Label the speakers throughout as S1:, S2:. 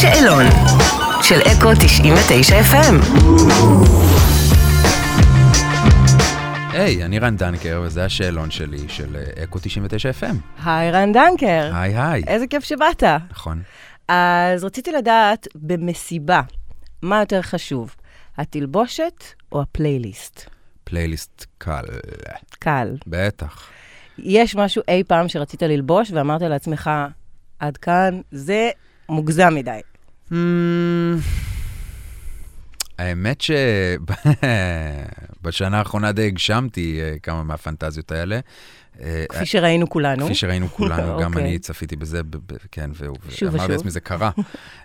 S1: שאלון של אקו 99 FM.
S2: היי, אני רן דנקר, וזה השאלון שלי של אה, אקו 99 FM.
S3: היי רן דנקר,
S2: היי היי.
S3: איזה כיף שבאת.
S2: נכון.
S3: אז רציתי לדעת, במסיבה, מה יותר חשוב, התלבושת או הפלייליסט?
S2: פלייליסט קל.
S3: קל.
S2: בטח.
S3: יש משהו אי פעם שרצית ללבוש ואמרת לעצמך, עד כאן, זה מוגזם מדי.
S2: Hmm, האמת שבשנה האחרונה די הגשמתי אה, כמה מהפנטזיות האלה. אה,
S3: כפי שראינו כולנו.
S2: כפי שראינו כולנו, גם
S3: אוקיי.
S2: אני צפיתי בזה, ב- ב- כן, והוא-
S3: שוב
S2: ואמרתי
S3: ושוב.
S2: לעצמי, זה קרה.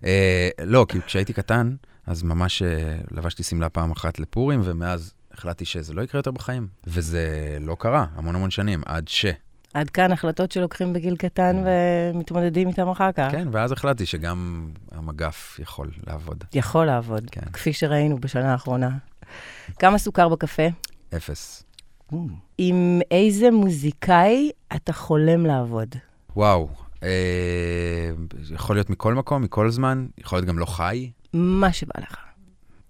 S2: אה, לא, כי כשהייתי קטן, אז ממש אה, לבשתי שמלה פעם אחת לפורים, ומאז החלטתי שזה לא יקרה יותר בחיים. וזה לא קרה המון המון שנים, עד ש.
S3: עד כאן החלטות שלוקחים בגיל קטן ומתמודדים איתן אחר כך.
S2: Mm. כן, ואז החלטתי שגם המגף יכול לעבוד.
S3: יכול לעבוד,
S2: כן.
S3: כפי שראינו בשנה האחרונה. כמה סוכר בקפה?
S2: אפס.
S3: עם איזה מוזיקאי אתה חולם לעבוד?
S2: וואו, אה, יכול להיות מכל מקום, מכל זמן, יכול להיות גם לא חי.
S3: מה שבא לך.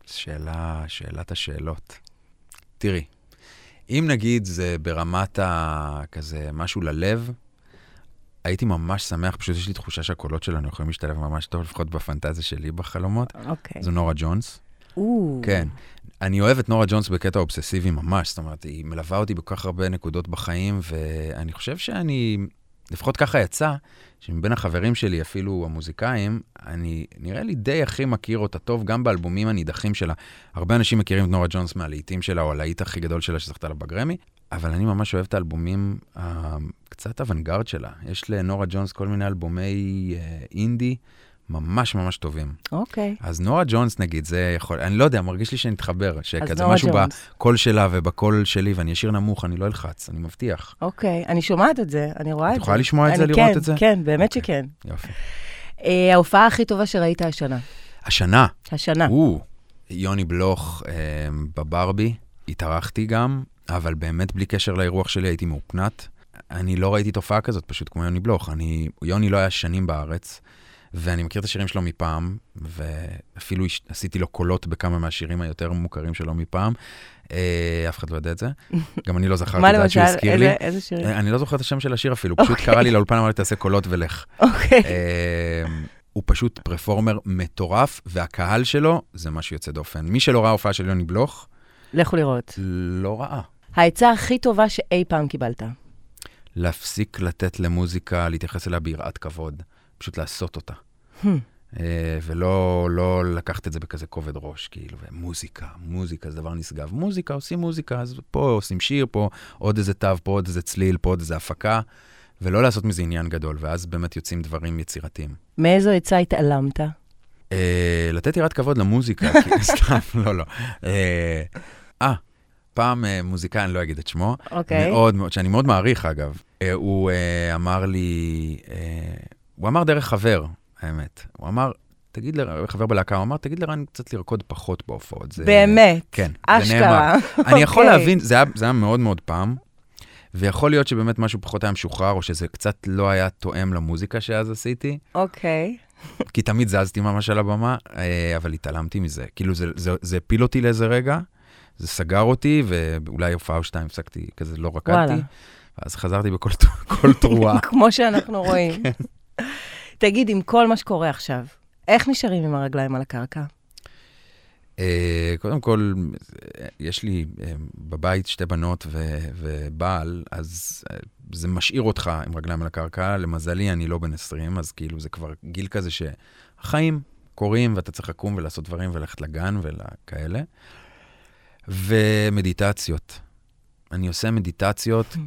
S2: שאלה, שאלת השאלות. תראי, אם נגיד זה ברמת ה... כזה משהו ללב, הייתי ממש שמח, פשוט יש לי תחושה שהקולות שלנו יכולים להשתלב ממש טוב, לפחות בפנטזיה שלי בחלומות.
S3: אוקיי.
S2: זו נורה ג'ונס.
S3: או,
S2: כן. אני אוהב את נורה ג'ונס בקטע אובססיבי ממש, זאת אומרת, היא מלווה אותי בכל כך הרבה נקודות בחיים, ואני חושב שאני, לפחות ככה יצא, שמבין החברים שלי, אפילו המוזיקאים, אני נראה לי די הכי מכיר אותה טוב, גם באלבומים הנידחים שלה. הרבה אנשים מכירים את נורה ג'ונס מהלהיטים שלה, או הלהיט הכי גדול שלה שזכתה לה בגרמי, אבל אני ממש אוהב את האלבומים הקצת אוונגרד שלה. יש לנורה ג'ונס כל מיני אלבומי אה, אינדי ממש ממש טובים.
S3: אוקיי.
S2: אז נורה ג'ונס נגיד, זה יכול, אני לא יודע, מרגיש לי שנתחבר,
S3: אז
S2: שכזה
S3: נורה
S2: כן, משהו
S3: ג'ונס.
S2: בקול שלה ובקול שלי, ואני אשיר נמוך, אני לא אלחץ, אני מבטיח.
S3: אוקיי, אני שומעת את זה, אני רואה את
S2: את
S3: אה, זה.
S2: יכולה לשמוע את זה,
S3: אני-
S2: לראות
S3: כן,
S2: את זה?
S3: כן, באמת
S2: אוקיי.
S3: שכן.
S2: יופי.
S3: אה, ההופעה הכי טובה שראית השנה.
S2: השנה,
S3: השנה.
S2: הוא, יוני בלוך אה, בברבי, התארחתי גם, אבל באמת בלי קשר לאירוח שלי הייתי מאופנת. אני לא ראיתי תופעה כזאת פשוט כמו יוני בלוך. אני, יוני לא היה שנים בארץ, ואני מכיר את השירים שלו מפעם, ואפילו הש- עשיתי לו קולות בכמה מהשירים היותר מוכרים שלו מפעם. אה, אף אחד לא יודע את זה. גם אני לא זכרתי
S3: מה
S2: את זה עד שהוא
S3: למשל,
S2: הזכיר לי.
S3: איזה- איזה שירים?
S2: אה, אני לא זוכר את השם של השיר אפילו, פשוט
S3: אוקיי.
S2: קרא לי לאולפן, אמר לי, תעשה קולות ולך.
S3: אוקיי.
S2: אמ, הוא פשוט פרפורמר מטורף, והקהל שלו זה משהו יוצא דופן. מי שלא ראה הופעה של יוני בלוך,
S3: לכו לראות.
S2: לא ראה.
S3: העצה הכי טובה שאי פעם קיבלת.
S2: להפסיק לתת למוזיקה, להתייחס אליה ביראת כבוד, פשוט לעשות אותה.
S3: Hmm.
S2: אה, ולא לא לקחת את זה בכזה כובד ראש, כאילו, ומוזיקה, מוזיקה זה דבר נשגב. מוזיקה, עושים מוזיקה, אז פה עושים שיר, פה עוד איזה תו, פה עוד איזה צליל, פה עוד איזה הפקה, ולא לעשות מזה עניין גדול, ואז באמת יוצאים דברים יצירתיים.
S3: מאיזו עצה התעלמת?
S2: אה, לתת יראת כבוד למוזיקה, כי סתם, לא, לא. אה, אה, פעם אה, מוזיקאי, אני לא אגיד את שמו,
S3: אוקיי.
S2: מאוד אה, מאוד, שאני מאוד מעריך אגב, אה, הוא אה, אמר לי, אה, הוא אמר דרך חבר, האמת. הוא אמר, תגיד לחבר בלהקה, הוא אמר, תגיד לרן קצת לרקוד פחות בהופעות. זה-
S3: באמת.
S2: כן, זה נאמר.
S3: אשכרה.
S2: אני יכול
S3: אוקיי.
S2: להבין, זה היה- זה היה מאוד מאוד פעם, ויכול להיות שבאמת משהו פחות היה משוחרר, או שזה קצת לא היה תואם למוזיקה שאז עשיתי.
S3: אוקיי.
S2: כי תמיד זזתי ממש על הבמה, אה, אבל התעלמתי מזה. כאילו, זה- זה זה הפיל אותי לאיזה רגע, זה סגר אותי, ואולי הופעה או שתיים הפסקתי, כזה לא
S3: וואלה.
S2: רקדתי. ואז חזרתי בכל ת- כל תרועה.
S3: כמו שאנחנו רואים.
S2: כן.
S3: תגיד, עם כל מה שקורה עכשיו, איך נשארים עם הרגליים על הקרקע?
S2: אה, קודם כל, אה, יש לי אה, בבית שתי בנות ו- ובעל, אז אה, זה משאיר אותך עם רגליים על הקרקע. למזלי, אני לא בן 20, אז כאילו זה כבר גיל כזה שהחיים קורים, ואתה צריך לקום ולעשות דברים וללכת לגן וכאלה. ומדיטציות. אני עושה מדיטציות,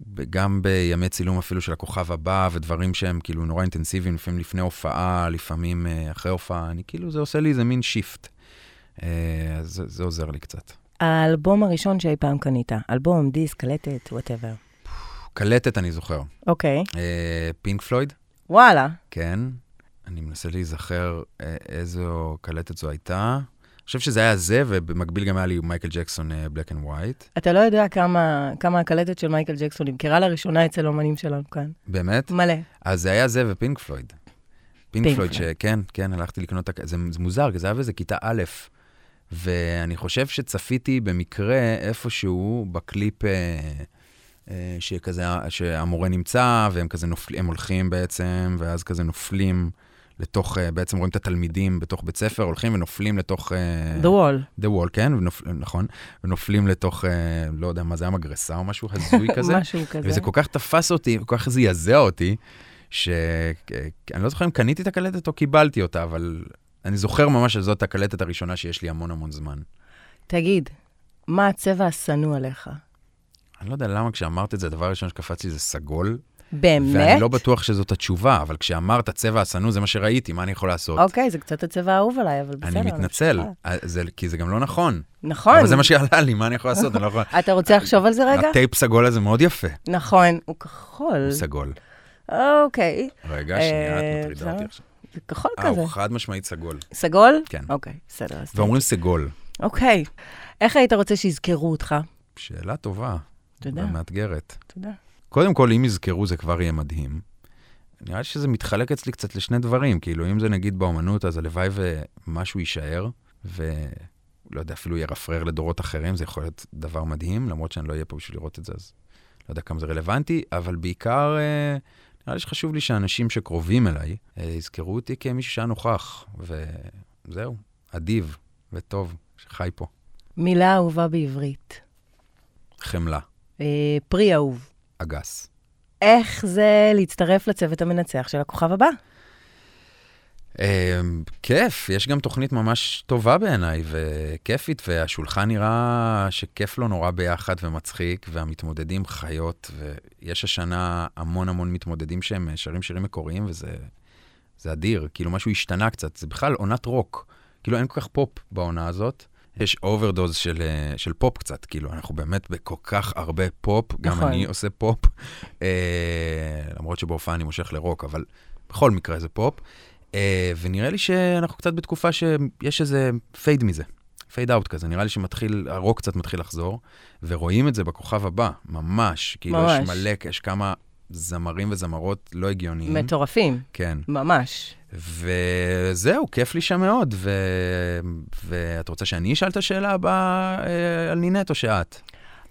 S2: ב- גם בימי צילום אפילו של הכוכב הבא, ודברים שהם כאילו נורא אינטנסיביים, לפעמים לפני הופעה, לפעמים אה, אחרי הופעה, אני כאילו, זה עושה לי איזה מין שיפט. אה, אז זה, זה עוזר לי קצת.
S3: האלבום הראשון שאי פעם קנית, אלבום, דיסק, קלטת, וואטאבר.
S2: קלטת אני זוכר.
S3: אוקיי.
S2: אה, פינק פלויד,
S3: וואלה.
S2: כן. אני מנסה להיזכר אה, איזו קלטת זו הייתה. אני חושב שזה היה זה, ובמקביל גם היה לי מייקל ג'קסון אה, בלק אנד ווייט.
S3: אתה לא יודע כמה, כמה הקלטת של מייקל ג'קסון נמכרה לראשונה אצל אומנים שלנו כאן.
S2: באמת?
S3: מלא.
S2: אז זה היה זה ופינק פלויד. פינק
S3: פינק
S2: פלויד,
S3: פלויד.
S2: שכן, כן, הלכתי לקנות, את הכ- זה, זה מוזר, כי זה היה באיזה כיתה א', ואני חושב שצפיתי במקרה איפשהו בקליפ אה, אה, שכזה, שהמורה נמצא, והם כזה נופלים, הם הולכים בעצם, ואז כזה נופלים לתוך, אה, בעצם רואים את התלמידים בתוך בית ספר, הולכים ונופלים לתוך... אה,
S3: The Wall.
S2: The Wall, כן, ונופ... נכון, ונופלים לתוך, אה, לא יודע מה זה היה, מגרסה או משהו הזוי כזה.
S3: משהו כזה.
S2: וזה כל כך תפס אותי, כל כך זעזע אותי, שאני לא זוכר אם קניתי את הקלטת או קיבלתי אותה, אבל אני זוכר ממש שזאת הקלטת הראשונה שיש לי המון המון זמן.
S3: תגיד, מה הצבע השנוא עליך?
S2: אני לא יודע למה כשאמרת את זה, הדבר הראשון שקפץ לי זה סגול.
S3: באמת?
S2: ואני לא בטוח שזאת התשובה, אבל כשאמרת צבע השנוא, זה מה שראיתי, מה אני יכול לעשות?
S3: אוקיי, זה קצת הצבע האהוב עליי, אבל בסדר.
S2: אני מתנצל,
S3: ממשיכה.
S2: אה, זה, כי זה גם לא נכון.
S3: נכון.
S2: אבל זה מה שעלה לי, מה אני יכול לעשות? אני לא יכול...
S3: אתה רוצה לחשוב על זה רגע?
S2: הטייפ סגול הזה מאוד יפה.
S3: נכון, הוא כחול.
S2: הוא סגול.
S3: אוקיי,
S2: רגע,
S3: אה,
S2: שנייה, את מטרידה אותי
S3: בסדר.
S2: עכשיו.
S3: זה כחול
S2: אה,
S3: כזה.
S2: הוא חד משמעית סגול.
S3: סגול?
S2: כן.
S3: אוקיי, בסדר. אז-
S2: ואומרים סגול.
S3: אוקיי. איך היית רוצה שיזכרו אותך?
S2: שאלה טובה.
S3: תודה.
S2: ומאתגרת.
S3: תודה.
S2: קודם כל, אם יזכרו, זה כבר יהיה מדהים. נראה לי שזה מתחלק אצלי קצת לשני דברים. כאילו, אם זה נגיד באמנות, אז הלוואי ומשהו יישאר, ולא יודע, אפילו ירפרר לדורות אחרים, זה יכול להיות דבר מדהים, למרות שאני לא אהיה פה בשביל לראות את זה, אז לא יודע כמה זה רלוונטי, אבל בעיקר, אה, נראה לי שחשוב לי שאנשים שקרובים אליי אה, יזכרו אותי כמישהו שהיה נוכח, וזהו, אדיב וטוב, שחי פה.
S3: מילה אהובה בעברית.
S2: חמלה,
S3: אה, פרי אהוב.
S2: אגס.
S3: איך זה להצטרף לצוות המנצח של הכוכב הבא?
S2: אמ, כיף, יש גם תוכנית ממש טובה בעיניי, וכיפית, והשולחן נראה שכיף לו נורא ביחד ומצחיק, והמתמודדים חיות, ויש השנה המון המון מתמודדים שהם שרים שירים מקוריים, וזה זה אדיר, כאילו משהו השתנה קצת, זה בכלל עונת רוק, כאילו אין כל כך פופ בעונה הזאת. יש אוברדוז של, אה, של פופ קצת, כאילו, אנחנו באמת בכל כך הרבה פופ, גם
S3: נכון.
S2: אני עושה פופ, אה, למרות שבהופעה אני מושך לרוק, אבל בכל מקרה זה פופ. אה, ונראה לי שאנחנו קצת בתקופה שיש איזה פייד מזה, פייד אאוט כזה, נראה לי שמתחיל, הרוק קצת מתחיל לחזור, ורואים את זה בכוכב הבא, ממש, כאילו יש
S3: ממש.
S2: מלא, יש כמה זמרים וזמרות לא הגיוניים.
S3: מטורפים,
S2: כן,
S3: ממש.
S2: וזהו, כיף לי שם מאוד, ו... ואת רוצה שאני אשאל את השאלה הבאה אה, על נינט או שאת?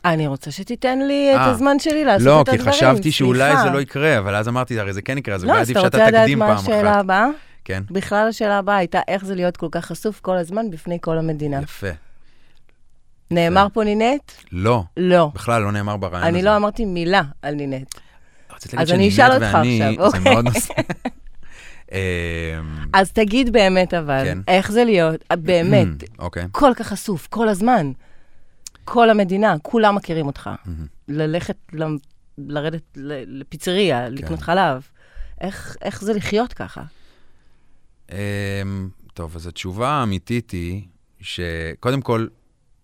S3: אני רוצה שתיתן לי את
S2: אה.
S3: הזמן שלי לעשות
S2: לא,
S3: את
S2: כי
S3: הדברים,
S2: חשבתי שאולי
S3: סליחה.
S2: זה לא יקרה, אבל אז אמרתי, הרי זה כן יקרה, אז
S3: לא,
S2: אולי
S3: אז
S2: עדיף
S3: אתה
S2: שאתה
S3: רוצה לדעת
S2: תקדים
S3: מה
S2: פעם
S3: השאלה
S2: אחת.
S3: הבאה?
S2: כן,
S3: בכלל השאלה הבאה הייתה, איך זה להיות כל כך חשוף כל הזמן בפני כל המדינה?
S2: יפה.
S3: נאמר פה נינט?
S2: לא,
S3: לא.
S2: בכלל לא נאמר ברעיון הזה.
S3: אני לא אמרתי מילה על נינט.
S2: רצית להגיד
S3: אז אני
S2: שנינת
S3: אשאל אותך
S2: ואני-
S3: עכשיו,
S2: זה
S3: אוקיי.
S2: מאוד נושא. אמ,
S3: אז תגיד באמת אבל,
S2: כן.
S3: איך זה להיות, באמת,
S2: אוקיי.
S3: כל כך חשוף, כל הזמן. כל המדינה, כולם מכירים אותך. ללכת, ל- לרדת ל-
S2: כן.
S3: לפיצריה, לקנות חלב. איך- איך זה לחיות ככה?
S2: אמ, טוב, אז התשובה האמיתית היא שקודם כל,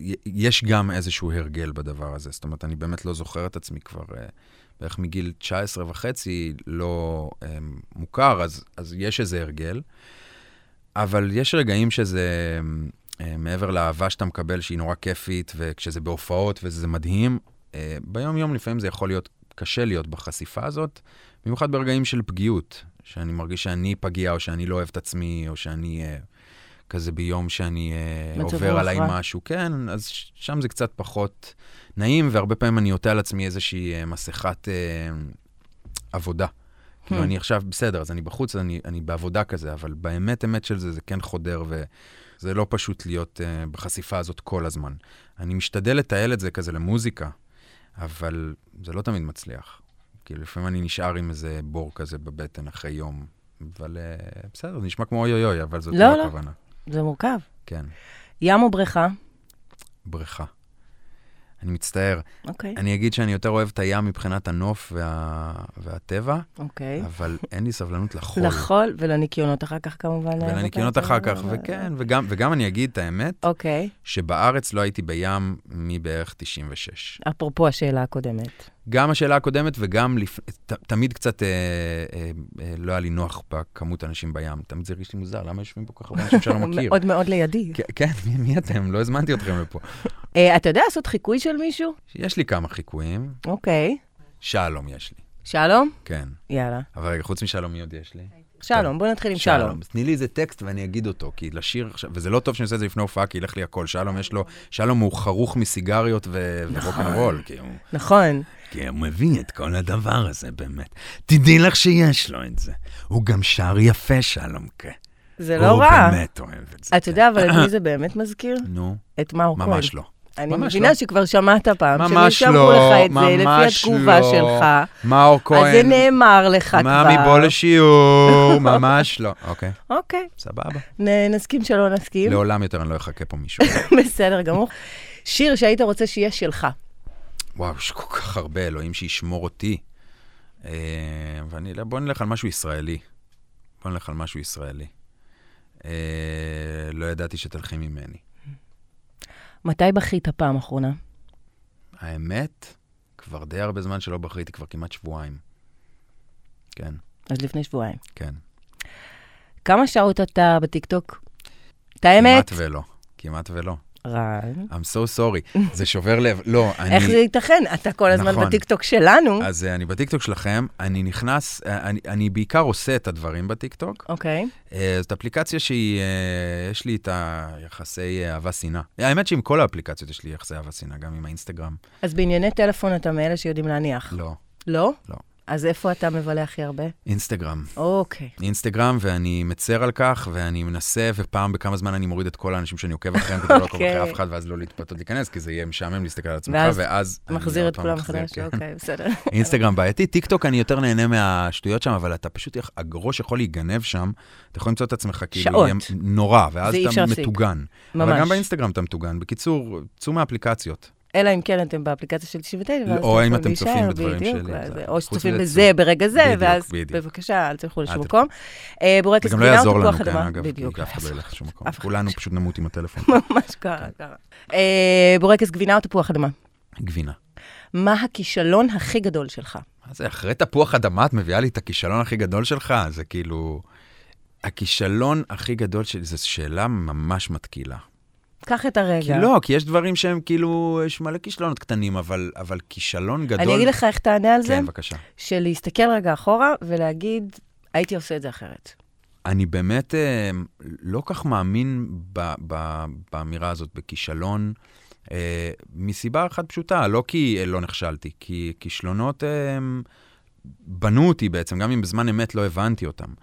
S2: י- יש גם איזשהו הרגל בדבר הזה. זאת אומרת, אני באמת לא זוכר את עצמי כבר אה, בערך מגיל 19 וחצי, לא אה, מוכר, אז, אז יש איזה הרגל. אבל יש רגעים שזה אה, מעבר לאהבה שאתה מקבל, שהיא נורא כיפית, וכשזה בהופעות וזה מדהים, אה, ביום-יום לפעמים זה יכול להיות קשה להיות בחשיפה הזאת, במיוחד ברגעים של פגיעות, שאני מרגיש שאני פגיע, או שאני לא אוהב את עצמי, או שאני אה, כזה ביום שאני אה,
S3: מצב
S2: עובר
S3: רוח
S2: עליי
S3: רע.
S2: משהו. כן, אז ש- שם זה קצת פחות נעים, והרבה פעמים אני עוטה על עצמי איזושהי אה, מסכת אה, עבודה.
S3: כן.
S2: כאילו, אני עכשיו בסדר, אז אני בחוץ, אני, אני בעבודה כזה, אבל באמת אמת של זה, זה כן חודר, וזה לא פשוט להיות uh, בחשיפה הזאת כל הזמן. אני משתדל לתעל את זה כזה למוזיקה, אבל זה לא תמיד מצליח. כאילו, לפעמים אני נשאר עם איזה בור כזה בבטן אחרי יום, אבל uh, בסדר, זה נשמע כמו אוי אוי אוי, אבל זאת
S3: לא,
S2: לא,
S3: לא.
S2: הכוונה.
S3: זה מורכב.
S2: כן,
S3: ים או בריכה?
S2: בריכה. אני מצטער.
S3: אוקיי.
S2: אני אגיד שאני יותר אוהב את הים מבחינת הנוף וה... והטבע,
S3: אוקיי. נכון,
S2: אבל אין לי סבלנות לחול.
S3: לחול ולניקיונות אחר כך כמובן.
S2: ולניקיונות אחר כך, וכן, וגם, וגם אני אגיד את האמת,
S3: אוקיי,
S2: שבארץ לא הייתי בים מבערך 96.
S3: אפרופו השאלה הקודמת.
S2: גם השאלה הקודמת וגם לפ... ת, תמיד קצת אה, אה, אה, לא היה לי נוח בכמות האנשים בים. תמיד זה הרגיש לי מוזר, למה יושבים כל כך הרבה אנשים שאני לא מכיר?
S3: מאוד מאוד לידי.
S2: כן, כן, מי, מי אתם? לא הזמנתי אתכם לפה.
S3: אה, אתה יודע לעשות חיקוי של מישהו?
S2: יש לי כמה חיקויים,
S3: אוקיי.
S2: שלום יש לי,
S3: שלום?
S2: כן.
S3: יאללה.
S2: אבל רגע, חוץ משלום, מי עוד יש לי?
S3: שלום, בוא נתחיל עם שלום.
S2: אז תני לי איזה טקסט ואני אגיד אותו, כי לשיר עכשיו, וזה לא טוב שאני עושה את זה לפני הופעה, כי ילך לי הכל. שלום יש לו, שלום הוא חרוך מסיגריות ו- ורוקנרול, כי הוא...
S3: נכון.
S2: כי הוא מביא את כל הדבר הזה, באמת. תדעי לך שיש לו את זה. הוא גם שר יפה, שלום כה.
S3: זה לא רע.
S2: הוא באמת אוהב את זה.
S3: אתה יודע, אבל את מי זה באמת מזכיר?
S2: נו,
S3: את מאור כהן.
S2: ממש לא.
S3: אני
S2: ממש
S3: מבינה
S2: לא.
S3: שכבר שמעת פעם,
S2: ממש
S3: שמישהו
S2: לא,
S3: לך את זה לפי
S2: ממש
S3: התגובה
S2: לא.
S3: שלך.
S2: מאור
S3: אז זה
S2: כהן,
S3: נאמר לך כבר.
S2: מאמי בוא לשיעור, ממש לא. אוקיי,
S3: אוקיי,
S2: סבבה.
S3: נ- נסכים שלא נסכים.
S2: לעולם יותר אני לא אחכה פה מישהו.
S3: בסדר גמור. שיר שהיית רוצה שיהיה שלך.
S2: וואו, יש כל כך הרבה, אלוהים שישמור אותי. אה, ואני, לא, בוא נלך על משהו ישראלי. בוא נלך על משהו ישראלי. אה, לא ידעתי שתלכי ממני.
S3: מתי בכית פעם אחרונה?
S2: האמת, כבר די הרבה זמן שלא בכיתי, כבר כמעט שבועיים. כן,
S3: אז לפני שבועיים.
S2: כן.
S3: כמה שעות אתה בטיקטוק? את האמת?
S2: כמעט ולא. כמעט ולא.
S3: רן.
S2: I'm so sorry. זה שובר לב. לא, אני...
S3: איך זה ייתכן? אתה כל הזמן
S2: נכון.
S3: בטיקטוק שלנו.
S2: אז אה, אני בטיקטוק שלכם, אני נכנס, אה, אני, אני בעיקר עושה את הדברים בטיקטוק.
S3: אוקיי.
S2: אה, זאת אפליקציה שהיא, אה, יש לי את היחסי אה, אהבה-שנאה. האמת שעם כל האפליקציות יש לי יחסי אהבה-שנאה, גם עם האינסטגרם.
S3: אז בענייני טלפון אתה מאלה שיודעים להניח.
S2: לא,
S3: לא?
S2: לא.
S3: אז איפה אתה מבלה הכי הרבה?
S2: אינסטגרם.
S3: אוקיי.
S2: אינסטגרם, ואני מצר על כך, ואני מנסה, ופעם בכמה זמן אני מוריד את כל האנשים שאני עוקב אחריהם, כדי לא לעקוב
S3: אוקיי.
S2: אחרי אף אחד, ואז לא להתפתות להיכנס, כי זה יהיה משעמם להסתכל על עצמך,
S3: ואז
S2: ואז... אני
S3: מחזיר
S2: עוד
S3: את
S2: פעם
S3: כולם
S2: מחזיר,
S3: מחדש,
S2: כן.
S3: אוקיי, בסדר.
S2: אינסטגרם בעייתי, טיק טוק אני יותר נהנה מהשטויות שם, אבל אתה פשוט, איך- הגרוש יכול להיגנב שם, אתה יכול למצוא את עצמך כאילו
S3: שעות.
S2: יהיה נורא, ואז
S3: זה אי אפשר
S2: אתה
S3: להפסיק.
S2: מטוגן. אבל
S3: ממש.
S2: גם באינסטגרם אתה מטוגן. בקיצור, צאו מהאפליקציות.
S3: אלא אם כן אתם באפליקציה של 99, ואז
S2: לא, או
S3: אתם
S2: אם
S3: יכולים
S2: אתם צופים
S3: להישאר,
S2: בדברים
S3: בדיוק,
S2: שלי,
S3: ואז-
S2: זה-
S3: או
S2: חוץ
S3: שצופים
S2: מזה
S3: בזה ברגע זה,
S2: בדיוק,
S3: ואז
S2: בדיוק.
S3: בבקשה, אל תלכו לשום
S2: אל
S3: מקום. אה,
S2: זה
S3: בורקס
S2: גם לא
S3: גבינה
S2: יעזור לנו,
S3: ותפוח
S2: כן,
S3: אדמה.
S2: אגב, כי
S3: בדיוק,
S2: אף אחד לא ילך לשום מקום.
S3: אף אחד.
S2: כולנו פשוט נמות עם הטלפון.
S3: ממש
S2: כן.
S3: ככה, ככה. אה, בורקס גבינה או תפוח אדמה?
S2: גבינה.
S3: מה הכישלון הכי גדול שלך?
S2: מה זה, אחרי תפוח אדמה את מביאה לי את הכישלון הכי גדול שלך? זה כאילו... הכישלון הכי גדול שלי, זו שאלה ממש מתקילה.
S3: קח את הרגע.
S2: כי לא, כי יש דברים שהם כאילו, יש מלא כישלונות קטנים, אבל, אבל כישלון גדול...
S3: אני אגיד לך איך תענה על זה,
S2: כן, בבקשה.
S3: שלהסתכל רגע אחורה ולהגיד, הייתי עושה את זה אחרת.
S2: אני באמת אה, לא כך מאמין ב, ב, באמירה הזאת, בכישלון, אה, מסיבה אחת פשוטה, לא כי אה, לא נכשלתי, כי כישלונות אה, בנו אותי בעצם, גם אם בזמן אמת לא הבנתי אותם.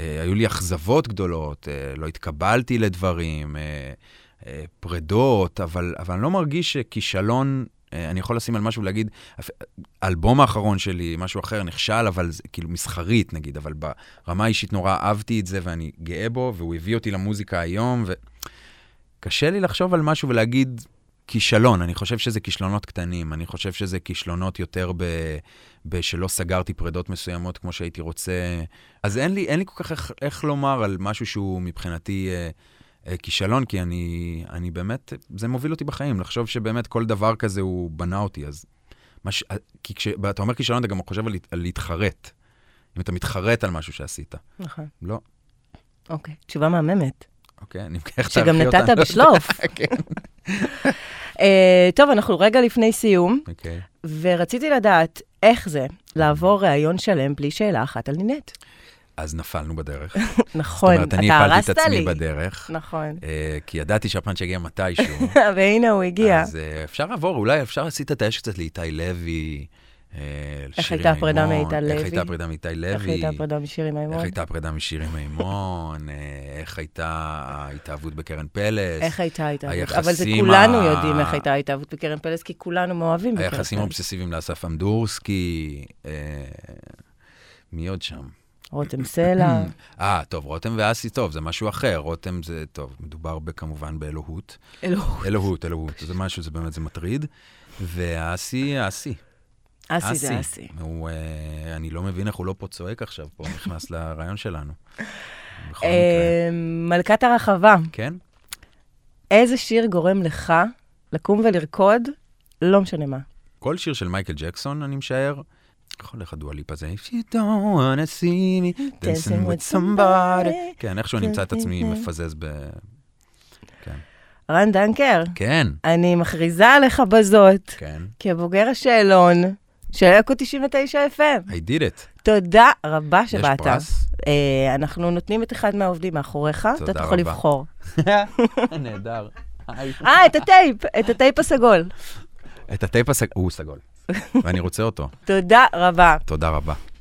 S2: אה, היו לי אכזבות גדולות, אה, לא התקבלתי לדברים, אה, אה, פרדות, אבל, אבל אני לא מרגיש שכישלון... אה, אני יכול לשים על משהו ולהגיד, "אפ- האלבום האחרון שלי, משהו אחר, נכשל, אבל זה כאילו מסחרית נגיד, אבל ב- ברמה האישית נורא אהבתי את זה ואני גאה בו, והוא הביא אותי למוזיקה היום, וקשה לי לחשוב על משהו ולהגיד כישלון, אני חושב שזה כישלונות קטנים, אני חושב שזה כישלונות יותר ב... בשלא סגרתי פרדות מסוימות כמו שהייתי רוצה. אז אין לי, אין לי כל כך איך, איך לומר על משהו שהוא מבחינתי אה, אה, כישלון, כי אני, אני באמת, זה מוביל אותי בחיים, לחשוב שבאמת כל דבר כזה הוא בנה אותי, אז... מה ש... כי כשאתה אומר כישלון, אתה גם חושב על, להת- על להתחרט. אם אתה מתחרט על משהו שעשית.
S3: נכון.
S2: לא,
S3: אוקיי. תשובה מהממת,
S2: אוקיי, אני איך
S3: שגם
S2: תערכי אותה,
S3: נתת
S2: אני לא יודע.
S3: בשלוף.
S2: כן.
S3: אה, טוב, אנחנו רגע לפני סיום.
S2: אוקיי.
S3: ורציתי לדעת איך זה לעבור ראיון שלם בלי שאלה אחת על נינט.
S2: אז נפלנו בדרך. זאת
S3: נכון,
S2: אומרת, אני
S3: אתה
S2: הפלתי
S3: הרסת
S2: את עצמי
S3: לי.
S2: בדרך,
S3: נכון.
S2: אה, כי ידעתי שהפאנץ' יגיע מתישהו.
S3: והנה הוא הגיע.
S2: אז אה, אפשר לעבור, אולי אפשר להסיט את האש קצת לאיתי לוי, אה, לשירי
S3: הייתה הפרידה
S2: מימון,
S3: מאיתי לוי?
S2: איך הייתה הפרידה מאיתי לוי?
S3: איך הייתה הפרידה משירי מימון?
S2: איך הייתה הפרידה משירי מימון? אה, איך הייתה ההתאהבות בקרן פלס?
S3: איך הייתה ההתאהבות?
S2: היחסים
S3: אבל זה
S2: ה-
S3: כולנו יודעים איך הייתה ההתאהבות בקרן פלס, כי כולנו מאוהבים בקרן פלס.
S2: היחסים האובססיביים לאסף אמדורסקי, אה, מי עוד שם?
S3: רותם סלע.
S2: אה, טוב, רותם ואסי, טוב, זה משהו אחר. רותם זה, טוב, מדובר ב- כמובן באלוהות.
S3: אלוהות.
S2: אלוהות, אלוהות, זה משהו, זה באמת, זה מטריד. ואסי, אסי.
S3: אסי זה אסי.
S2: הוא, אה, אני לא מבין איך הוא לא פה צועק עכשיו, פה הוא נכנס לרעיון שלנו. בכל מקרה.
S3: אה, מלכת הרחבה,
S2: כן?
S3: איזה שיר גורם לך לקום ולרקוד? לא משנה מה.
S2: כל שיר של מייקל ג'קסון, אני משער. איך הולך הדואליפ הזה? If you don't wanna see me dancing with somebody. כן, איכשהו אני אמצא את עצמי מפזז ב... כן.
S3: רן דנקר,
S2: כן,
S3: אני מכריזה עליך בזאת,
S2: כן.
S3: כבוגר השאלון, של אקו 99 FM.
S2: I did it.
S3: תודה רבה שבאת.
S2: יש פרס?
S3: אה, אנחנו נותנים את אחד מהעובדים מאחוריך, אתה
S2: תודה
S3: יכול
S2: רבה.
S3: לבחור.
S2: נהדר.
S3: אה, את הטייפ, את הטייפ הסגול.
S2: את הטייפ הסגול, הוא סגול, ואני רוצה אותו.
S3: תודה רבה.
S2: תודה רבה.